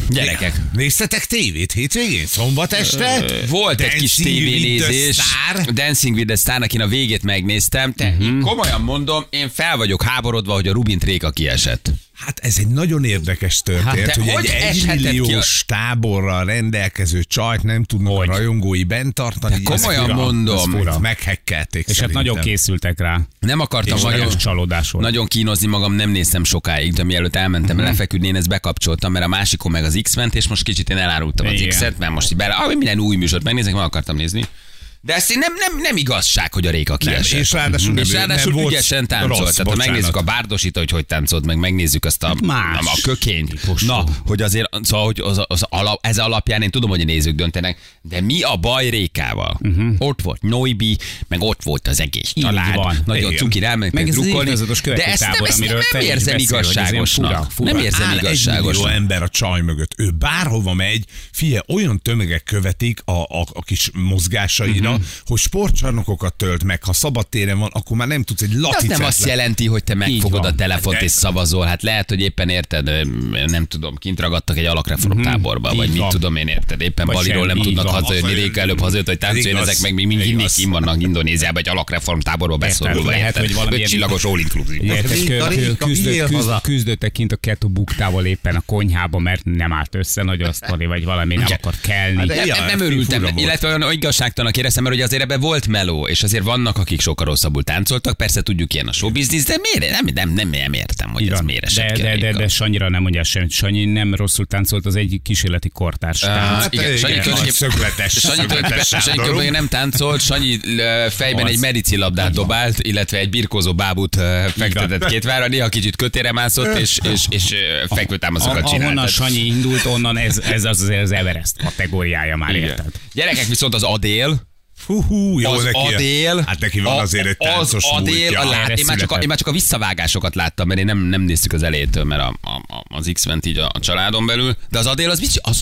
gyerekek. Néztetek tévét hétvégén? Szombat este? Volt egy kis Dancing with the tévénézés. Star? Dancing with the Star, akin a végét megnéztem. Te, uh-huh. komolyan mondom, én fel vagyok háborodva, hogy a Rubint Réka kiesett. Hát ez egy nagyon érdekes történet, Hát hát, de hogy, hogy hogy egy eshetett egymilliós táborral rendelkező csajt nem tudnak hogy? a rajongói bent tartani. De Ez komolyan fura, mondom. ez fura. Meghekkelték És hát nagyon készültek rá. Nem akartam És nagyon, nagyon csalódás volt. nagyon kínozni magam, nem néztem sokáig, de mielőtt elmentem Mhm. mm-hmm. lefeküdni, én ezt bekapcsoltam, mert a másikon meg az x ment és most kicsit én elárultam az Igen. X-et, mert most így bele, ah, minden új műsort megnézek, meg akartam nézni. De ezt én nem, nem, nem igazság, hogy a réka kiesett. és ráadásul Mhm. nem- és ráadásul nem volt ügyesen táncolt. rossz, Tehát ha bocsánat. Hát megnézzük a bárdosít, hogy hogy táncolt, meg megnézzük azt a, más. a kökényt. Na, hogy azért, szóval, hogy az, az alap, ez alapján én tudom, hogy a nézők döntenek, de mi a baj Rékával? Mhm. Uh-huh. Ott volt Noibi, meg ott volt az egész Így család. van. Nagyon Igen. cuki elmentek Meg ez az drukkolni. évszázados De ezt nem, követőtábor, ezt nem, amiről te nem is érzem beszélsz, hogy ez ilyen fura, igazságosnak. fura. Nem érzem Áll egy millió igazságosnak. ember a csaj mögött. Ő bárhova megy, fie, olyan tömegek követik a, a, a kis mozgásaira, Mhm. uh-huh. hogy sportcsarnokokat tölt meg. Ha szabadtéren van, akkor már nem tudsz egy De az laticát nem azt le- jelenti, hogy te megfogod van. a telefont De- és szavazol. Hát lehet, hogy éppen érted, ö, nem tudom, kint ragadtak egy alakreformtáborba, vagy Mhm. Így mit van. tudom én érted. Éppen Vagy Baliról semmi, nem így tudnak van. hazajönni, Hazajönni. Réka előbb hazajött, hogy táncoljon, Igaz. ezek meg még mindig Igaz. mindig kim vannak Indonéziában egy alakreformtáborba beszorulva. lehet, érted? hogy valamilyen- Öt csillagos all inclusive. Érted, Réka, kö- kö- Réka, küzdött- miért küzd- haza? küzdöttek kint a kettő buktával éppen a konyhába, mert nem állt össze, nagy asztali, vagy valami nem akart kelni. Hát de- Nem, Ja, nem, nem fura örültem, volt. illetve olyan igazságtalanak éreztem, értem, mert hogy azért ebben volt meló, és azért vannak, akik sokkal rosszabbul táncoltak, persze tudjuk ilyen a showbiznisz, de miért? Nem, nem, nem, nem értem, hogy Így ez van. miért esett de, ki a de, de, véka. de, Sanyira nem mondja semmit. Sanyi nem rosszul táncolt, az egyik kísérleti kortárs. Á, hát tánc. igen, Sanyi igen, tulajdonképp- az szögletes, Sanyi szögletes tulajdonképpen- Sanyi sándorú. tulajdonképpen nem táncolt, Sanyi ö, fejben Az. egy medici labdát dobált, illetve egy birkózó bábút ö, fektetett két vára, néha kicsit kötére mászott, és, és, és ö, fekvőtámaszokat A- csinált. Ahonnan Tehát- Sanyi indult, onnan ez, ez az, az, az Everest kategóriája már Igen. érted. Gyerekek viszont az Adél, Hú, hú, jó az neki. Adél, Hát neki van a- azért egy az táncos Adél, múltja. Hát, a lát, Erre én, már csak a, én született. már csak a visszavágásokat láttam, mert én nem, nem néztük az elétől, mert a, a, a, az x ment így a, a családon belül, de az Adél az, mit, csi- az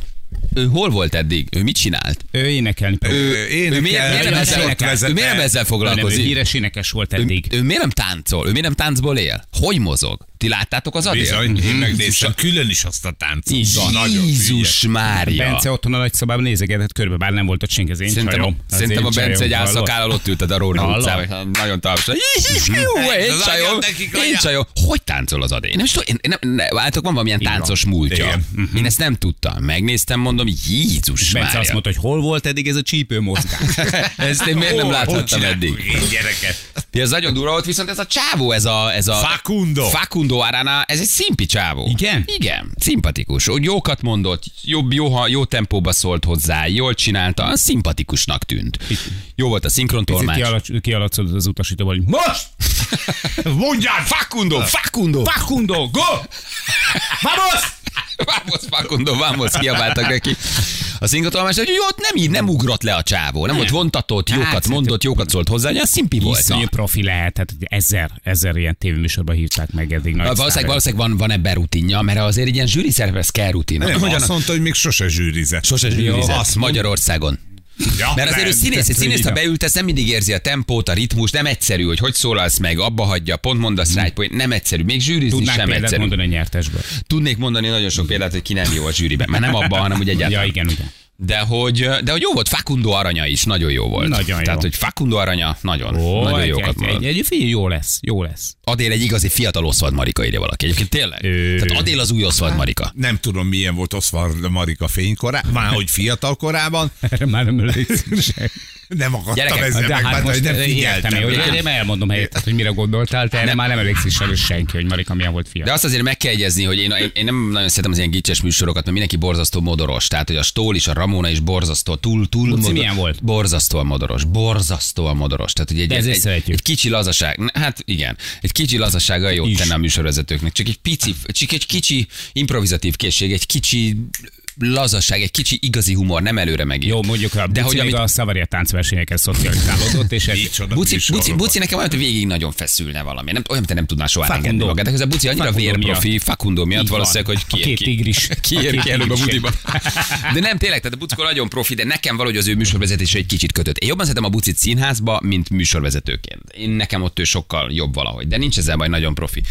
ő hol volt eddig? Ő mit csinált? Ő énekelni Ő Ő miért, énekel, miért, nem, énekel, ezzel, vezet ő miért el. nem ezzel Nem, ő foglalkozik? híres énekes volt Ő, eddig. ő miért nem táncol? Ő miért nem táncból él? Hogy mozog? Ti láttátok az Adél? Bizony, én megnéztem külön is azt a táncot. Nagyon Jézus Mária! Bence otthon a nagyszobában nézegetett körbe, bár nem volt ott senki, az én Szerintem, a, csajom. Az szerintem én a Bence csajom, egy Hát hallod? átszakállal ott ülted a Róna Hallod? utcában, és hát nagyon tapsol. Én csajom, én hát. csajom. Hogy táncol az Adél? Nem is tudom, én- én nem- ne- Váltok, van valamilyen táncos múltja. Igen. Én ezt nem tudtam. Megnéztem, mondom, Jézus Mhm. Bence azt Mária. mondta, hogy hol volt eddig ez a csípő mozgás. (laughs) Ezt én (laughs) miért nem láthattam eddig? Én gyereket. Ez nagyon durva volt, viszont ez a csávó, ez a... Ez a Facundo. Facundo Arana, ez egy szimpi csávó. Igen? Igen, szimpatikus. Úgy jókat mondott, jobb, jó, ha- jó tempóba szólt hozzá, jól csinálta, szimpatikusnak tűnt. Jó volt a Picit szinkrontolmács. kialac- kialacodott az utasítóval, hogy (laughs) most! Mondjál, Facundo! Facundo! Facundo, go! Vamos! Vamos, Facundo, vamos, kiabáltak neki. A szinkrontolmács, hogy jó, ott nem így, nem ugrott le a csávó, nem, ott vontatott, jókat Hát, mondott, jókat szólt hozzá, olyan szimpi volt. Iszonyú Na. profi lehet, tehát hogy ezer, ezer ilyen tévéműsorban hívták meg eddig nagy Valószínűleg, sztárok. valószínűleg van, van ebben rutinja, mert azért egy ilyen zsűri szervez kell rutin. Nem, Hogyan- azt mondta, hogy még sose zsűrizett. Sose Jó, zsűrizett azt mond- Magyarországon. Ja, Mert azért ő nem. színész, egy színész, ha beültesz, nem mindig érzi a tempót, a ritmus, nem egyszerű, hogy hogy szólalsz meg, abba hagyja, pont mondasz rá egy point, nem egyszerű, még zsűrizni Tudnánk sem példát egyszerű. mondani a nyertesből. Tudnék mondani nagyon sok példát, hogy ki nem jó a zsűriben, már nem abban, hanem úgy Ja, egyáltalán. igen, igen. De hogy, de hogy jó volt, Facundo aranya is, nagyon jó volt. Nagyon jó. Tehát, hogy Facundo aranya, nagyon, Ó, nagyon egy, jókat egy, mondott. egy, egy, figyelj, jó lesz, jó lesz. (laughs) Adél egy igazi fiatal Oszvad Marika írja valaki. Egyébként tényleg. Ő. Hát. Tehát Adél az új Oszvad Marika. Nem tudom, milyen volt Oszvald Marika fénykorában, már hogy fiatal korában, Erre (laughs) már nem emlékszem sem. nem akartam Gyerekek, ezzel De hát megváltani, most hogy nem értem, figyeltem. hogy rá. én elmondom helyettet, hogy mire gondoltál, te erre már nem emlékszik sem senki, hogy Marika milyen volt De fia. azt azért meg kell jegyezni, hogy én, én nem nagyon szeretem az ilyen gicses műsorokat, mert mindenki borzasztó modoros. Tehát, hogy a Stól is, a Ramona is borzasztó, túl, túl Luci milyen volt? Borzasztó a modoros, borzasztó a modoros. Tehát, hogy egy, De ezért egy, egy, szeretjük. egy kicsi lazaság, Na, hát igen, egy kicsi lazasága jót Is. tenne a műsorvezetőknek. Csak egy pici, csak egy kicsi improvizatív készség, egy kicsi lazaság, egy kicsi igazi humor, nem előre meg. Jó, mondjuk a de hogy amit a Szavaria táncversenyeken szocializálódott, és egy Micsoda Buci, Buci, műsorban. Buci, nekem olyan, hogy végig nagyon feszülne valami. Nem, olyan, mint te nem tudnál soha Facundo. engedni magad. De közben Buci annyira Facundo vérprofi, miatt. Facundo miatt Így van. valószínűleg, hogy A ki, két (laughs) tigris. Ki, A ki, két ki előbb a tigris. budiba. De nem, tényleg, tehát a Bucko nagyon profi, de nekem valahogy az ő műsorvezetése egy kicsit kötött. Én jobban szeretem a Bucit színházba, mint műsorvezetőként. Én nekem ott ő sokkal jobb valahogy, de nincs ezzel baj, nagyon profi.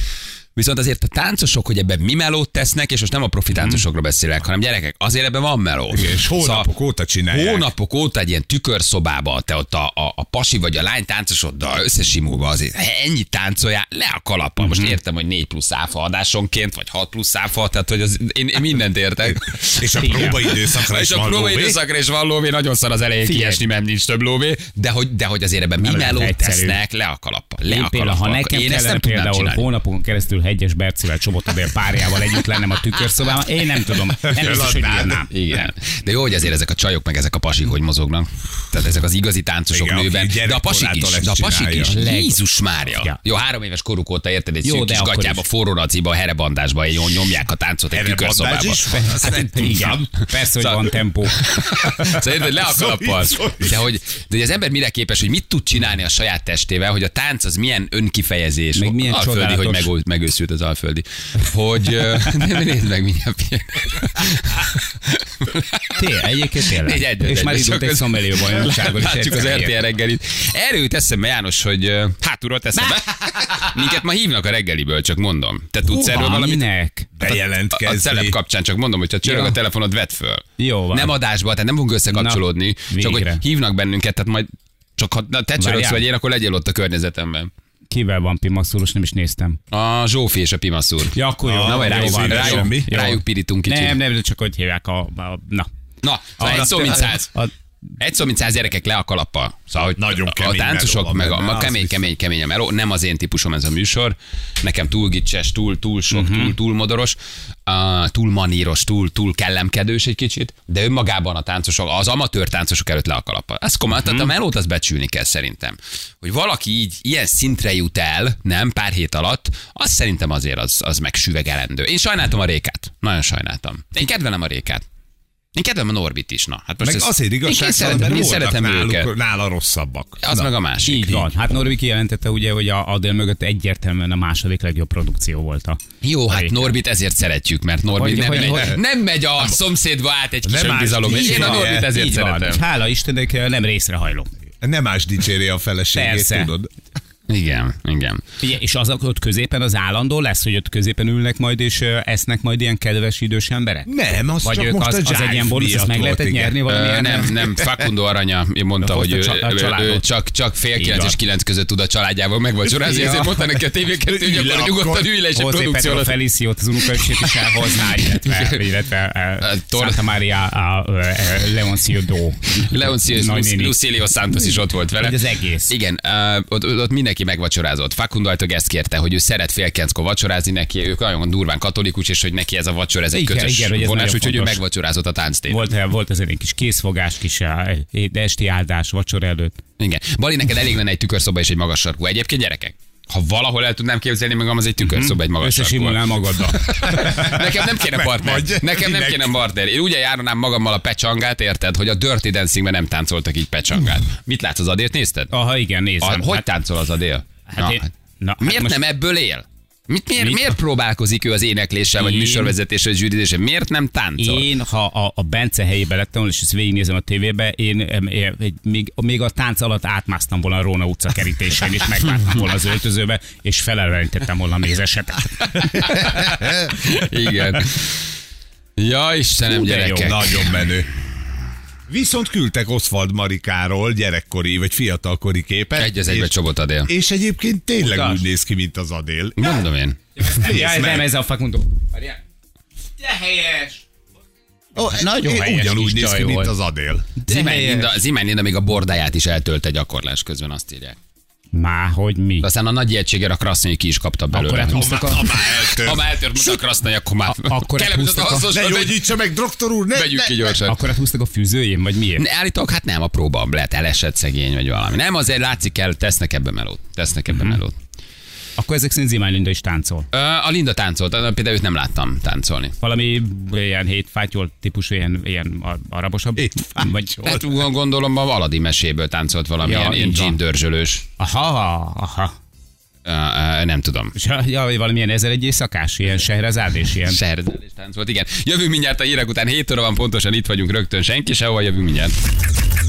Viszont azért a táncosok, hogy ebben mi melót tesznek, és most nem a profi táncosokról beszélek, hanem gyerekek, azért ebben van meló. Igen, És hónapok Szóval- óta csinálják. Hónapok óta egy ilyen tükörszobába, te ott a, a, a pasi vagy a lány táncosoddal összesimulva azért ennyit táncoljál, le a kalappal. Most Mhm. értem, hogy 4 plusz áfa adásonként, vagy 6 plusz áfa, tehát hogy az, én, én mindent (laughs) értek. És a próbaidőszakra is És a van próbai lóvé. időszakra is van lóvé, nagyon szar az elején Figyelj. kiesni, mert nincs több lóvé, de hogy, de hogy azért ebben mi Nem lehet melót egyszerű. tesznek, le a kalappal. Le Én a például, ha kalappal. nekem Én ezt kellene nem tudnám például csinálni. hónapokon keresztül hegyes Bercivel, Csobot Adél párjával együtt lennem a tükörszobában, én nem tudom, nem biztos, hogy Föladnád. bírnám. Igen. De jó, hogy azért ezek a csajok, meg ezek a pasik, hogy mozognak. Tehát ezek az igazi táncosok Igen, Igen, aki nőben. De a pasik is, gyerekkorától de a ezt pasik is. csinálja. Jézus Mária. Ja. Jó, három éves koruk óta érted egy Jó, szűk de kis akkor gatyába, is. Herebandás tükörszobába. is van? Azt nem Igen, persze, hogy Szóval- van (laughs) tempó. Szóval Szerinted hogy le a kalappal. De hogy, de hogy az ember mire képes, hogy mit tud csinálni a saját testével, hogy a tánc az milyen önkifejezés. Meg milyen alföldi, hogy csodálatos. megó- megőszült az alföldi. Hogy ö, (laughs) nem nézd meg mindjárt. Tényleg, egyébként tényleg. Négy egyet, És már egyet. indult Csak egy az- szomelió bajnokságon is Látjuk az egyszer RTL ilyen. reggelit. Erről jut eszembe, János, hogy ö, hátulról teszem be. (laughs) Minket ma hívnak a reggeliből, csak mondom. Te tudsz Hova? erről valamit? Minek? A, a Bejelentkezni. celeb kapcsán csak mondom, hogy ha csörög Ja. a telefonod, vedd föl. Jó van. Nem adásba, tehát nem fogunk összekapcsolódni, Na, csak hogy végre. hívnak bennünket, tehát majd csak ha na, te csörögsz Várjál. vagy én, akkor legyél ott a környezetemben. Kivel van Pimaxulos, nem is néztem. A Zsófi és a Pimaszúr. Ja, akkor jó. Na, vagy Jó rájuk, van, rájuk, jó, rájuk, jó. rájuk pirítunk kicsit. Nem, nem, csak hogy hívják a... a na. Na, szóval egy szó, mint száz. A, Egy szó, mint száz gyerekek le a kalappal. Szóval, hogy Nagyon a, a kemény táncosok, meló a meg a, benne, a az kemény, biztos. kemény, kemény a meló. Nem az én típusom ez a műsor. Nekem túl gicses, túl, túl sok, Mhm. uh-huh. túl, túl modoros, uh, túl maníros, túl, túl kellemkedős egy kicsit, de önmagában a táncosok, az amatőr táncosok előtt le a kalappal. Ez komoly, uh-huh. Mhm. tehát a melót az becsülni kell szerintem. Hogy valaki így ilyen szintre jut el, nem, pár hét alatt, az szerintem azért az, az megsüvegelendő. Én sajnáltam a rékát. Nagyon sajnáltam. Én kedvelem a rékát. Én kedvelem a Norbit is, na. Hát most Meg ez- azért Én- én szóval igazság, szeretem, mert én voltak szeretem őket. náluk, nála rosszabbak. Az Na. meg a másik. Így van. Hát Norbi kijelentette ugye, hogy a Adél mögött egyértelműen a második legjobb produkció volt a Jó, hát Réka. Norbit ezért szeretjük, mert Norbit Hogy- nem, hogy- megy, hogy- nem megy a szomszédba át egy kis Nem önbizalom. áll- és Én a így van, Norbit ezért Így van. szeretem. És hála Istennek eh, nem részrehajló. Nem más dicséri a feleségét, Persze. tudod? Igen, igen. Ugye, és az ott középen az állandó lesz, hogy ott középen ülnek majd, és ö, esznek majd ilyen kedves idős emberek? Nem, az Vagy csak ők most az, a az egy Jive ilyen bónusz, miatt azt meg volt, lehetett igen. nyerni valami Ö, nem, nem, Facundo Aranya mondta, Na, hogy hozta ő, a csa- a ő- családot. ő csak, csak fél Így kilenc és van. kilenc között tud a családjával meg vagy során, ezért Ja. ezért mondta neki a tévékettő, hogy Ülj le akkor akkor. nyugodtan ülj le, és egy José produkció Pedro alatt Feliciót az unokaöcsét is elhozná, (laughs) illetve, illetve A uh, tor- Santa Maria uh, uh, Leoncio Do. Leoncio Nagynéni. Lucilio Santos is ott volt vele. Hogy az egész. Igen, ö, ott, ott ott mindenki megvacsorázott. Facundo Ajtog ezt kérte, hogy ő szeret fél kilenckor vacsorázni neki, ők nagyon durván katolikus, és hogy neki ez a vacsora, ez egy Igen, kötös igen, hogy ez vonás, nagyon úgyhogy ő fontos. megvacsorázott a tánctéren. Volt, volt ezen egy kis készfogás, kis eh, esti áldás vacsora előtt. Igen. Bali, neked elég lenne egy tükörszoba és egy magas sarkú. Egyébként gyerekek, ha valahol el tudnám képzelni magam, az egy Mhm. tükörszoba, egy magas sarkú. Összesimulnál magaddal. (laughs) Nekem nem kéne partner. Vagy. Nekem nem Minek? kéne partner. Én ugye járnám magammal a pecsangát, érted, hogy a Dirty Dancingben nem táncoltak így pecsangát. Mit látsz az adért, nézted? Aha, igen, A, nézem. hogy táncol az a dél? Hát én- na, hát miért most- nem ebből él? Mit, miért, Mi- miért próbálkozik ő az énekléssel, vagy Én- műsorvezetéssel, vagy zsűrizéssel? Miért nem Szóval. táncol? Én, ha a, a Bence helyébe lettem volna, és ezt végignézem a tévébe, én em, em, egy- még, még a tánc alatt átmásztam volna a Róna utca kerítésén, és megvártam volna az öltözőbe, és felelenítettem volna a mézeset. (laughs) Igen. Ja, Istenem, Hú, de jó. gyerekek. Nagyon menő. Viszont küldtek Oswald Marikáról gyerekkori vagy fiatalkori képet. Egy az egybe és- csobot adél. És egyébként tényleg Utas. úgy néz ki, mint az Adél. Mondom én. (laughs) Nézd Ja, ez meg. nem ez a Facundo. Várjál. De helyes! Ó, nagyon én helyes Ugyanúgy kis néz ki, csaj mint volt. az Adél. Zimány Linda, Zimány Linda még a bordáját is eltölte gyakorlás közben, azt írják. Már hogy mi? De aztán a nagy ijegységgel a krasznai ki is kapta Akkor belőle. áthúztak a... Ha már eltört. Ha már eltört mondta a krasznai, akkor már akkor Kellett elhúztak az a- hozzá, Ne hogy- gyógyítsa meg, doktor úr, ne, Vegyük ne, ki ne. gyorsan. Akkor áthúztak a fűzőjén, vagy miért? Ne, Állítólag hát nem a próba, lehet elesett szegény, vagy valami. Nem, azért látszik el, tesznek ebbe melót. Tesznek ebbe Mhm. melót. Akkor ezek szerint Zimány Linda is táncol. Ö, A Linda táncolt, ö, például őt nem láttam táncolni. Valami ilyen hétfátyol típusú, ilyen, ilyen a- arabosabb? Vagy... Hát úgy gondolom a Valadi meséből táncolt valamilyen Ja, ja, ilyen így van. gin dörzsölős. Aha, aha. Ö, ö, Nem tudom. És ha- Ja, vagy valamilyen ezer egy éjszakás, ilyen sehrezád és ilyen. Serdelés tánc volt, igen. Jövünk mindjárt a hírek után, 7 óra van pontosan, itt vagyunk rögtön, senki sehova, jövünk mindjárt.